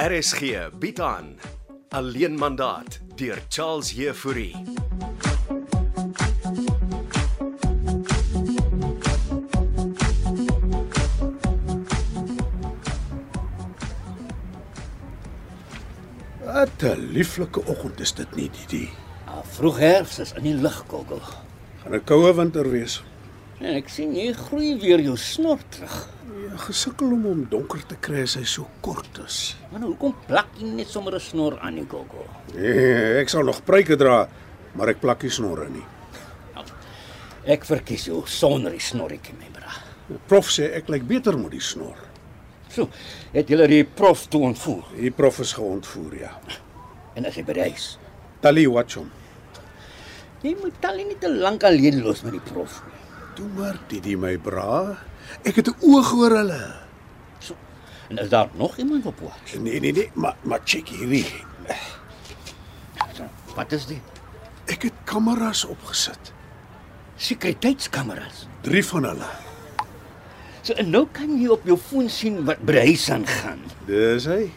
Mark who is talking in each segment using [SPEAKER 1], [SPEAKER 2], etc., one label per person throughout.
[SPEAKER 1] RSG bied aan Alleen mandaat deur Charles Heffouri.
[SPEAKER 2] Wat 'n lieflike oggend is dit nie, Didi.
[SPEAKER 3] Ja, Vroeg herfs is in die lug kokkel.
[SPEAKER 2] Gaan 'n koue winter wees.
[SPEAKER 3] En ek sien jy groei weer jou snor terug.
[SPEAKER 2] Ja, gesukkel om hom donker te kry as hy so kort is.
[SPEAKER 3] Maar nou, hoekom plak jy net sommer 'n snor aan die kokkel?
[SPEAKER 2] Nee, ek sal nog pruike dra, maar ek plak nie snorre nie.
[SPEAKER 3] Ek verkies jou sonder die snorretjie, my bra.
[SPEAKER 2] Die prof sê ek lyk beter met die snor.
[SPEAKER 3] So, het julle die prof toe ontvoer
[SPEAKER 2] Die prof is geontvoer, ja.
[SPEAKER 3] en as hy bereis.
[SPEAKER 2] Tally watch hom.
[SPEAKER 3] Jy moet Tally nie te lank alleen los met die prof nie.
[SPEAKER 2] Toe maar, Didi my bra. Ek het 'n oog oor hulle.
[SPEAKER 3] So, en is daar nog iemand op watch?
[SPEAKER 2] Nee, nee, nee, maar maar check hierdie.
[SPEAKER 3] Wat is dit?
[SPEAKER 2] Ek het kameras opgesit.
[SPEAKER 3] Sekuriteitskameras.
[SPEAKER 2] 3 van hulle.
[SPEAKER 3] So en nou kan jy op jou foon sien wat bereis aangaan.
[SPEAKER 2] Dis hy.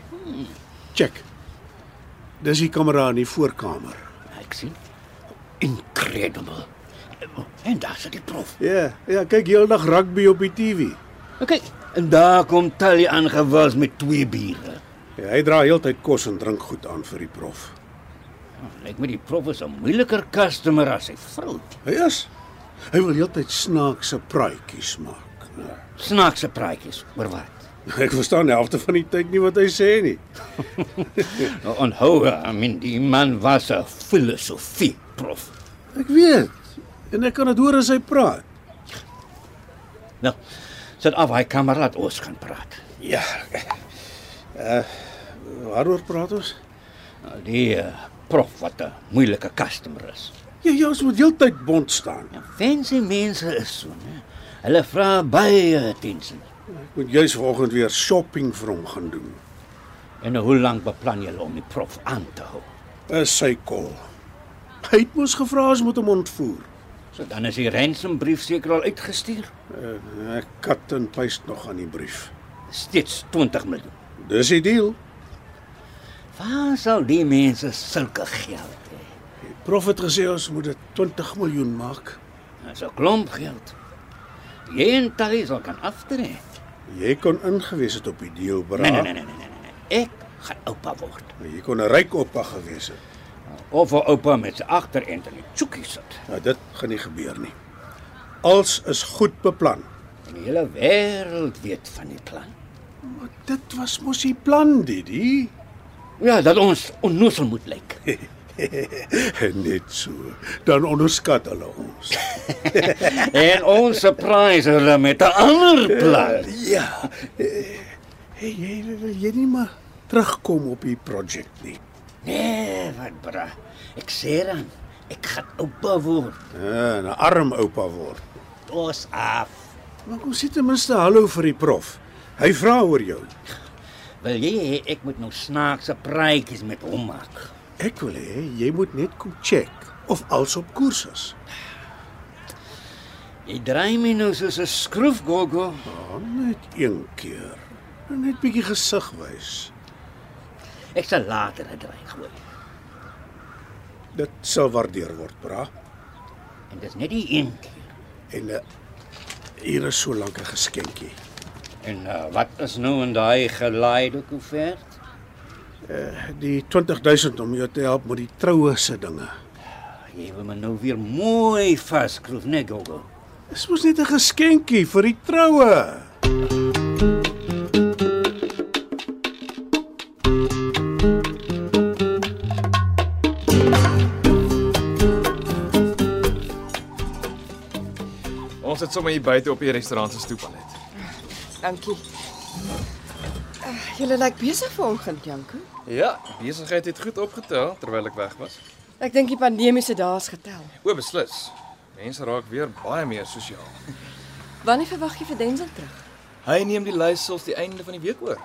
[SPEAKER 2] Check. Dis die kamera in die voorkamer.
[SPEAKER 3] Ek sien. Incredible. En daar sit die prof.
[SPEAKER 2] Ja, ja, kyk heeldag rugby op die TV.
[SPEAKER 3] OK, Nou, en daar kom Tally aangewils met twee biere.
[SPEAKER 2] Ja, hy dra heeltyd kos en drinkgoed aan vir die prof.
[SPEAKER 3] Lyk my die prof is 'n moeiliker customer as sy vrou.
[SPEAKER 2] Hy is. Hy wil heeltyd snaakse praatjies maak. Ja.
[SPEAKER 3] Snaakse praatjies oor wat?
[SPEAKER 2] Ek verstaan die helfte van die tyd nie wat hy sê nie.
[SPEAKER 3] Nou onthou, I mean die man was 'n filosofie prof.
[SPEAKER 2] Ek weet. En ek kan dit hoor as hy praat.
[SPEAKER 3] Nou, sit af hy kameraad ons gaan praat.
[SPEAKER 2] Ja. Eh uh, waaroor praat ons?
[SPEAKER 3] Nou, die uh, prof wat 'n moeilike customer is.
[SPEAKER 2] Ja, ja, ons moet heeltyd bond staan.
[SPEAKER 3] Nou, fancy mense is so, né? Hulle vra baie attensie.
[SPEAKER 2] Ek moet juis vanoggend weer shopping vir hom gaan doen.
[SPEAKER 3] En hoe lank beplan julle om die prof aan te hou?
[SPEAKER 2] Is sy kol. Hy het mos gevra as moet hom ontvoer.
[SPEAKER 3] So dan is die ransombrief seker al uitgestuur.
[SPEAKER 2] Uh, ek kat en paste nog aan die brief.
[SPEAKER 3] Steeds 20 miljoen.
[SPEAKER 2] Dis die deal.
[SPEAKER 3] Waar sal die mense sulke geld hê?
[SPEAKER 2] Die prof het gesê ons moet dit 20 miljoen maak.
[SPEAKER 3] Dis 'n klomp geld. Jy en Tally sal kan aftrek.
[SPEAKER 2] Jy kon ingewees het op die deal, bra.
[SPEAKER 3] Nee, nee, nee, nee, nee, nee, nee. Ek gaan oupa word.
[SPEAKER 2] nee. Jy kon 'n ryk oppa gewees het.
[SPEAKER 3] Of 'n oupa met sy agterend in die chokkie sit.
[SPEAKER 2] Nou dit gaan nie gebeur nie. Als is goed beplan.
[SPEAKER 3] En die hele wêreld weet van die plan.
[SPEAKER 2] Maar dit was mos die plan, Didi.
[SPEAKER 3] Ja, dat ons onnoosel moet lyk.
[SPEAKER 2] Net so. Dan onderskat hulle ons.
[SPEAKER 3] en ons surprise hulle met 'n ander plan.
[SPEAKER 2] ja. Hey, jy wil jy nie maar terugkom op die projek nie.
[SPEAKER 3] Nee, wat bra. Ek sê dan, ek gaan oupa word.
[SPEAKER 2] Ja, 'n arm oupa word.
[SPEAKER 3] Ons af.
[SPEAKER 2] Maar kom sê ten minste hallo vir die prof. Hy vra oor jou.
[SPEAKER 3] Wil jy hê ek moet nou snaakse praatjies met hom maak?
[SPEAKER 2] Ek wil hê jy moet net kom check of alles op koers is.
[SPEAKER 3] Jy draai my nou soos 'n skroef gogo.
[SPEAKER 2] Ja, net een keer. En net bietjie gesig wys.
[SPEAKER 3] Ek sal later 'n draai gooi.
[SPEAKER 2] Dit sal waardeer word, bra.
[SPEAKER 3] En dis net die een keer.
[SPEAKER 2] En uh, hier is so lank 'n geskenkie.
[SPEAKER 3] En uh, wat is nou in daai gelaaide koevert?
[SPEAKER 2] Die 20000 om jou te help met die troue se dinge.
[SPEAKER 3] Jy wil my nou weer mooi vasskroef, né gogo?
[SPEAKER 2] Dis mos net 'n geskenkie vir die troue.
[SPEAKER 4] Ons sit sommer hier buite op die restaurant se stoep al net.
[SPEAKER 5] Dankie. Uh, Julle lyk besig vanoggend, Janko.
[SPEAKER 4] Ja, besigheid het goed opgetel terwyl ek weg was.
[SPEAKER 5] Ek dink die pandemiese dae is getel.
[SPEAKER 4] O, beslis. Mense raak weer baie meer sosiaal.
[SPEAKER 5] Wanneer verwag jy vir Denzel terug?
[SPEAKER 4] Hy neem die lys selfs die einde van die week oor.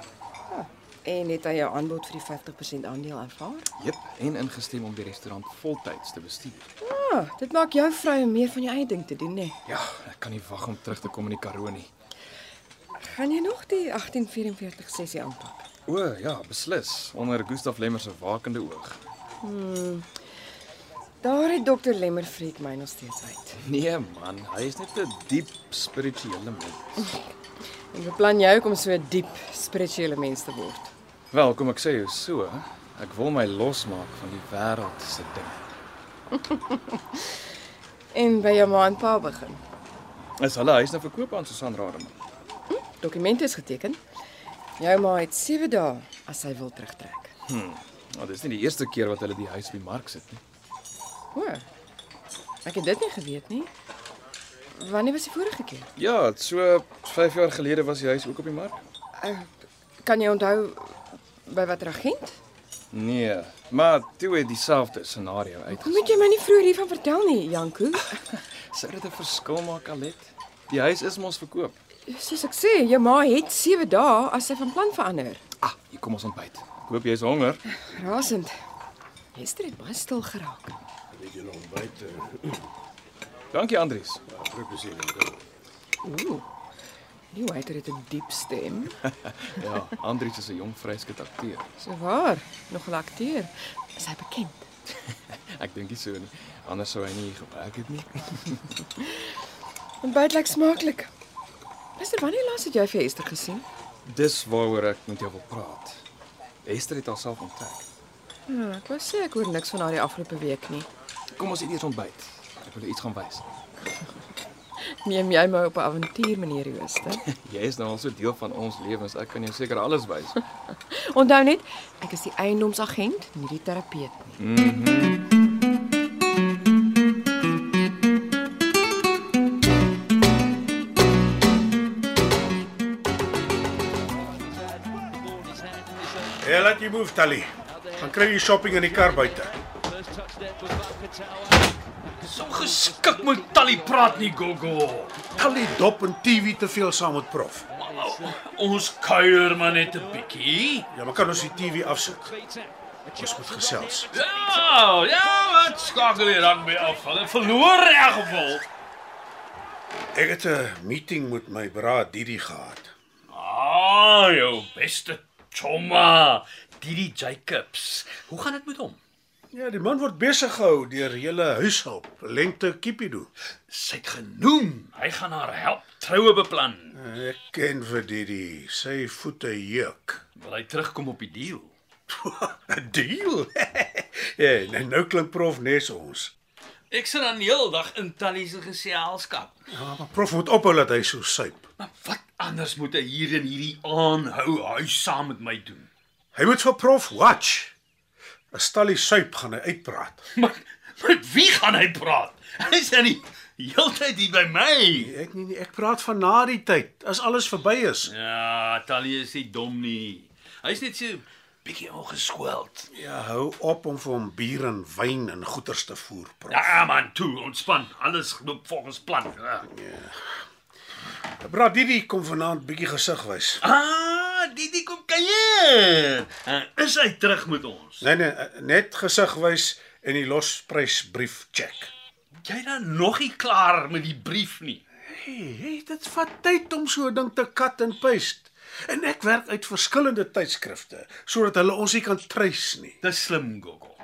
[SPEAKER 5] En het hy jou aanbod vir die 50% aandeel aanvaar?
[SPEAKER 4] Jep, en ingestem om die restaurant voltyds te bestuur.
[SPEAKER 5] Ja, oh, dit maak jou vry om meer van jou eie ding te doen, né?
[SPEAKER 4] Ja, ek kan nie wag om terug te kom in die Karoo nie.
[SPEAKER 5] Gaan jy nog die 1844 sessie aanpak?
[SPEAKER 4] O ja, beslis, onder Gustaf Lemmer se wakende oog.
[SPEAKER 5] Daar het dokter Lemmer vreek my nog steeds uit.
[SPEAKER 4] Nee man, hy is net 'n diep spirituele mens.
[SPEAKER 5] En beplan jy ook om so 'n diep spirituele mens te word?
[SPEAKER 4] Wel, kom ek sê jou so, ek wil my losmaak van die wêreld se dinge.
[SPEAKER 5] En by jou ma en pa begin.
[SPEAKER 4] Is hulle huis nou verkoop aan Susan Rademan?
[SPEAKER 5] Dokumente is geteken. Jou ma het 7 dae as sy wil terugtrek.
[SPEAKER 4] Nou, dis nie die eerste keer wat hulle die huis op die mark sit nie.
[SPEAKER 5] O. Ek het dit nie geweet nie. Wanneer was die vorige keer?
[SPEAKER 4] Ja, so 5 jaar gelede was die huis ook op die mark.
[SPEAKER 5] Uh, kan jy onthou er by watter agent?
[SPEAKER 4] Nee, maar toe het dieselfde scenario
[SPEAKER 5] Hoe
[SPEAKER 4] uitgekom.
[SPEAKER 5] moet jy my nie vroeër hiervan vertel nie, Janko?
[SPEAKER 4] Sou dit 'n verskil maak, Alet? Die huis is mos verkoop.
[SPEAKER 5] Soos ek sê, jou ma het 7 dae as sy van plan verander.
[SPEAKER 4] Ah, hier kom ons ontbyt. Ek hoop jy's honger.
[SPEAKER 5] Rasend. Hester het baie stil geraak.
[SPEAKER 2] Weet jy nog byt?
[SPEAKER 4] Dankie, Andries.
[SPEAKER 5] Ooh. Die waiter het 'n diep stem.
[SPEAKER 4] Ja, Andries is 'n jong vryskut akteur.
[SPEAKER 5] So waar, nog 'n akteur. Is hy bekend?
[SPEAKER 4] Ek dink nie so nie. Anders sou hy nie hier gewerk het nie.
[SPEAKER 5] Ontbyt lyk smaaklik. Mister, wanneer laas het jy vir Hester gesien?
[SPEAKER 4] Dis waaroor ek met jou wil praat. Esther het haarself onttrek.
[SPEAKER 5] Ja, ek wou sê ek hoor niks van haar die afgelope week nie.
[SPEAKER 4] Kom ons eet eers ontbyt. Ek wil jou iets gaan wys.
[SPEAKER 5] Neem jy my op 'n avontuur, meneer Jooste?
[SPEAKER 4] Jy is nou al so deel van ons lewens. Ek kan jou seker alles wys.
[SPEAKER 5] Onthou net, ek is die eiendomsagent, nie die terapeut nie.
[SPEAKER 2] Ja, laat jy move Tally. Dan kry jy shopping in die kar buite.
[SPEAKER 6] So geskik moet Tally praat nie Gogo.
[SPEAKER 2] Al die dop en TV te veel saam met prof.
[SPEAKER 6] Ons kuier maar net 'n bietjie.
[SPEAKER 2] Ja, maar kan ons die TV afsit? Ons moet gesels.
[SPEAKER 6] Ja, ja, wat skakel jy dan mee af? Hulle verloor in elk geval.
[SPEAKER 2] Ek het 'n meeting met my braad Didi gehad.
[SPEAKER 6] Ah, jou beste chomma, Didi Jacobs. Hoe gaan dit met hom?
[SPEAKER 2] Ja, die man word besig gehou deur hele huishulp, Lente Kipido.
[SPEAKER 6] Sy't genoem. Hy gaan haar help troue beplan.
[SPEAKER 2] Ek ken vir Didi, sy voete juk.
[SPEAKER 6] Wil hy terugkom op die deal?
[SPEAKER 2] 'n Deal. ja, nou, nou klink prof nes ons.
[SPEAKER 6] Ek sit dan die hele dag in Tally se geselskap.
[SPEAKER 2] Ja, maar prof moet ophou dat hy so suip.
[SPEAKER 6] Maar wat anders moet hy hier in hierdie aanhou huis saam met my doen?
[SPEAKER 2] Hy moet vir prof watch. As Tally suip gaan hy uitpraat.
[SPEAKER 6] Maar met wie gaan hy praat? Hy is aan die heeltyd hier by my.
[SPEAKER 2] Ek nie, nie ek praat van na die tyd, as alles verby is.
[SPEAKER 6] Ja, Talie is nie dom nie. Hy's net so bietjie ongeskoeld.
[SPEAKER 2] Ja, hou op om vir hom bier en wyn en goeters te voer, prof.
[SPEAKER 6] Ja man, toe, ontspan. Alles loop volgens plan. Ja.
[SPEAKER 2] Bra Didi kom vanaand bietjie gesig wys.
[SPEAKER 6] Ah, Didi kom kuier. Uh, Is hy terug met ons?
[SPEAKER 2] Nee nee, net gesig wys en die losprysbrief check.
[SPEAKER 6] Jy dan nog nie klaar met die brief nie.
[SPEAKER 2] Hey, hey, dit vat tyd om so 'n ding te cut and paste. En ek werk uit verskillende tydskrifte sodat hulle ons nie kan trace nie.
[SPEAKER 6] Dis slim, Gogo.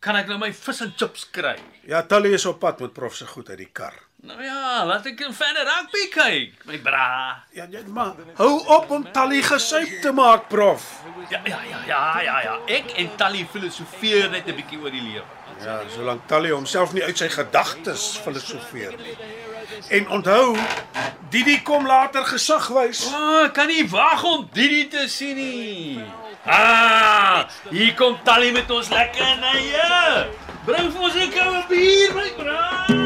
[SPEAKER 6] Kan ek nou my vis en chips kry?
[SPEAKER 2] Ja, Tally is op pad met prof se goed uit die kar.
[SPEAKER 6] Nou ja, laat ek verder rugby kyk, my bra.
[SPEAKER 2] Ja, ja, maar hou op om Tally gesuip te maak, prof.
[SPEAKER 6] Ja ja ja ja ja ja. Ek en Tally filosofeer net 'n bietjie oor die lewe.
[SPEAKER 2] Ja, solank Tally homself nie uit sy gedagtes filosofeer nie. En onthou, Didi kom later gesig wys.
[SPEAKER 6] O, oh, kan nie wag om Didi te sien nie. Ah, hier kom Tally met ons lekker na jou. Bring vir ons 'n koue bier, my bra.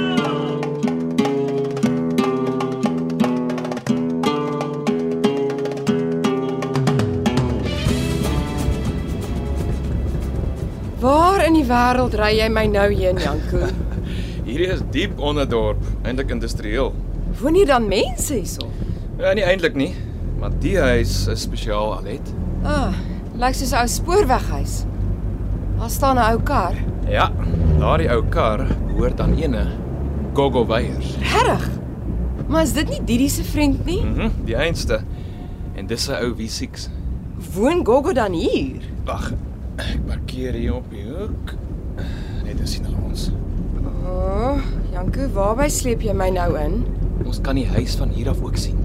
[SPEAKER 5] Waar in die wêreld ry jy my nou heen, Janko?
[SPEAKER 4] Hierdie is diep onder dorp, eintlik industrieel.
[SPEAKER 5] Woon hier dan mense hierso?
[SPEAKER 4] Ja, nie eintlik nie, maar die huis is spesiaal, Alet.
[SPEAKER 5] Ah, lyk soos 'n ou spoorweghuis. Daar staan 'n ou kar.
[SPEAKER 4] Ja, daardie ou kar behoort aan ene Gogo Weyers.
[SPEAKER 5] Regtig? Maar is dit nie Didi se vriend nie?
[SPEAKER 4] Mhm, mm die einste. En dis 'n ou V6.
[SPEAKER 5] Woon Gogo dan hier?
[SPEAKER 4] Wag. Ek parkeer hier op die hoek. Net as sien hulle ons.
[SPEAKER 5] O, oh, Janko, waarby sleep jy my nou in?
[SPEAKER 4] Ons kan die huis van hier af ook sien.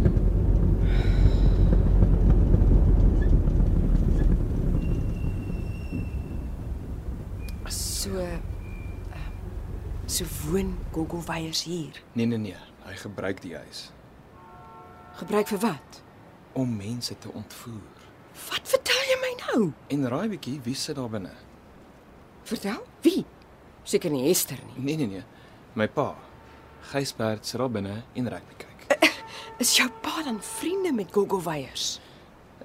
[SPEAKER 5] So eh, so woon Gogo Weyers hier.
[SPEAKER 4] Nee nee nee, hy gebruik die huis
[SPEAKER 5] Gebruik vir wat?
[SPEAKER 4] om mense te ontvoer.
[SPEAKER 5] Wat vertel jy my nou?
[SPEAKER 4] En raai bietjie wie sit daar binne?
[SPEAKER 5] Vertel? Wie? Seker nie Hester nie.
[SPEAKER 4] Nee nee nee, my pa. Gysbert sit daar binne en rugby kyk.
[SPEAKER 5] Is jou pa dan vriende met Gogo Weyers?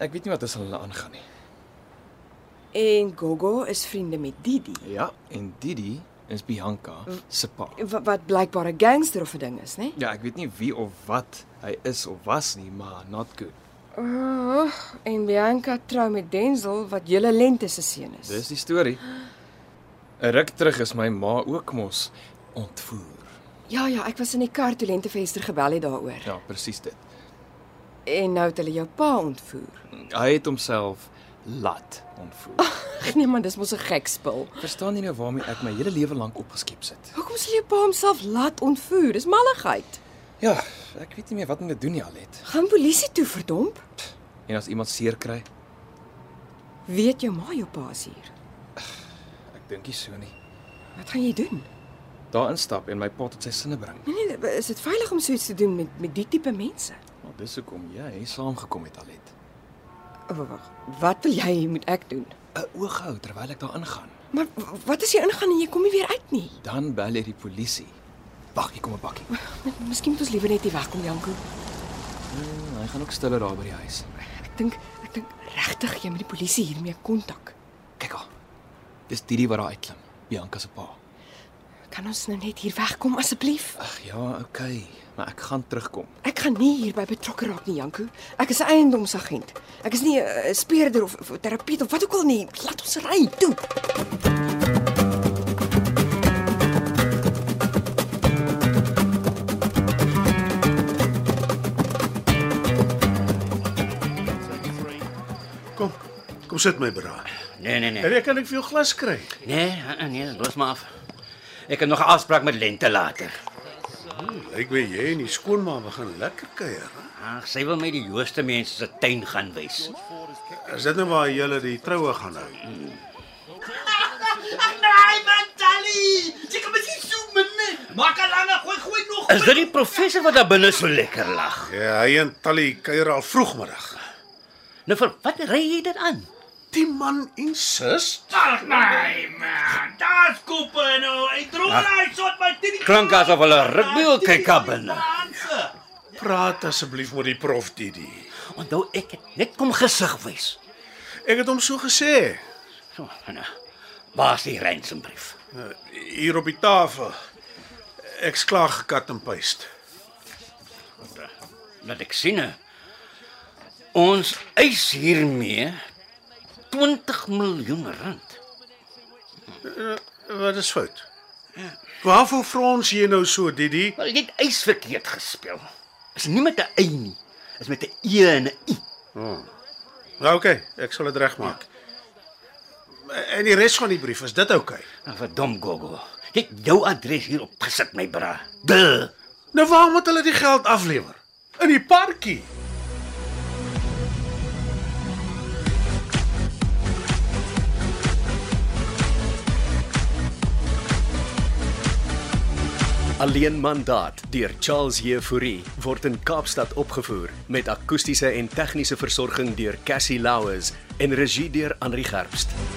[SPEAKER 4] Ek weet nie wat as hulle aangaan nie.
[SPEAKER 5] En Gogo is vriende met Didi,
[SPEAKER 4] Ja, en Didi is Bianca se pa.
[SPEAKER 5] wat, wat blykbaar 'n gangster of 'n ding is, nee? né?
[SPEAKER 4] Ja, ek weet nie wie of wat hy is of was nie, maar not good.
[SPEAKER 5] Oh, en Bianca trou met Denzel wat julle lente se seun is.
[SPEAKER 4] Dis die storie. 'n Ruk terug is my ma ook mos ontvoer.
[SPEAKER 5] Ja ja, ek was in die kar toe Lentefester gebel het daaroor.
[SPEAKER 4] Ja, presies dit.
[SPEAKER 5] En nou het hulle jou pa ontvoer.
[SPEAKER 4] Hy het homself laat ontvoer.
[SPEAKER 5] Ag nee man, dis mos 'n gek spul.
[SPEAKER 4] Verstaan jy nou waarmee ek my hele lewe lank opgeskep sit?
[SPEAKER 5] Hoekom sal jou pa homself laat ontvoer? Dis malligheid.
[SPEAKER 4] Ja, ek weet nie meer wat om te doen nie al het.
[SPEAKER 5] Gaan polisie toe verdomp.
[SPEAKER 4] En as iemand seer kry,
[SPEAKER 5] Weet jou ma jou pa is hier?
[SPEAKER 4] ek dink nie so nie.
[SPEAKER 5] Wat gaan jy doen?
[SPEAKER 4] Daar instap en my pa tot sy sinne bring.
[SPEAKER 5] Nee nee, is dit veilig om so iets te doen met met die tipe mense?
[SPEAKER 4] Maar dis hoekom jy saamgekom het al het.
[SPEAKER 5] O, Wag, Oh, wat wil jy moet ek doen?
[SPEAKER 4] 'n Oog hou terwyl ek daar ingaan.
[SPEAKER 5] Maar w- wat as jy ingaan en jy kom nie weer uit nie?
[SPEAKER 4] Dan bel jy die polisie. Wag, hier kom 'n bakkie.
[SPEAKER 5] Miskien moet ons liewer net hier wegkom, Janko.
[SPEAKER 4] Hmm, Hy gaan ook stiller daar by die huis.
[SPEAKER 5] Ek dink ek dink regtig jy moet die polisie hiermee kontak.
[SPEAKER 4] Kyk haar. Dis Didi wat daar uitklim. Bianca se pa.
[SPEAKER 5] Kan ons nou net hier wegkom asseblief?
[SPEAKER 4] Ag ja, okay, maar ek gaan terugkom.
[SPEAKER 5] Ek gaan nie hierby betrokke raak nie, Janko. Ek is 'n eiendomsagent. Ek is nie 'n 'n speurder of, of 'n terapeut of wat ook al nie. Laat ons ry, toe.
[SPEAKER 2] Kom. Kom sit my bra.
[SPEAKER 3] Nee, nee, nee.
[SPEAKER 2] En ek kan ek vir jou glas kry.
[SPEAKER 3] Nee, eh, nee, los maar af. Ek het nog 'n afspraak met Lente later.
[SPEAKER 2] Lyk my jy en die skoonma begin lekker kuier. hè?
[SPEAKER 3] Ag, sy wil my die jooste mense se tuin gaan wys.
[SPEAKER 2] Is dit nou waar julle die troue gaan hou?
[SPEAKER 6] Nee, man, Tally! Jy kan mos nie so min. Maak al aan, gooi gooi nog.
[SPEAKER 3] Is dit die professor wat daar binne so lekker lag?
[SPEAKER 2] Ja, hy en Tally kuier al vroegmiddag.
[SPEAKER 3] Nou vir wat ry jy dit aan?
[SPEAKER 2] Die man en sus?
[SPEAKER 6] Ag nee, man. Daar's koppe nou. Ek droom daai sot my tien.
[SPEAKER 3] Klink Ah. asof hulle rugby wil kyk daar binne.
[SPEAKER 2] Praat asseblief met die prof Didi.
[SPEAKER 3] Onthou ek het net kom gesig wys.
[SPEAKER 2] Ek het hom so gesê
[SPEAKER 3] So, nou. Waar is die ransombrief?
[SPEAKER 2] uh, hier op die tafel. Ek's klaar gekat en paste.
[SPEAKER 3] Laat ek sien. hè. Ons eis hiermee 20 miljoen rand.
[SPEAKER 2] Wat is fout? Waarvoor vra ons jy nou so Didi?
[SPEAKER 3] Wel, jy het eis verkeerd gespel. Is nie met 'n y nie, is met 'n e en 'n i.
[SPEAKER 2] Nou oké, okay, ek sal dit regmaak. En die res van die brief, is dit oukei? Okay?
[SPEAKER 3] Nou verdom Gogo. Jy het jou adres hier opgesit my bra. Duh.
[SPEAKER 2] Nou waarom moet hulle die geld aflewer? In die parkie.
[SPEAKER 1] Alleen mandaat deur Charles Heffouri word in Kaapstad opgevoer met akoestiese en tegniese versorging deur Cassie Louws en regie deur Henri Gerst.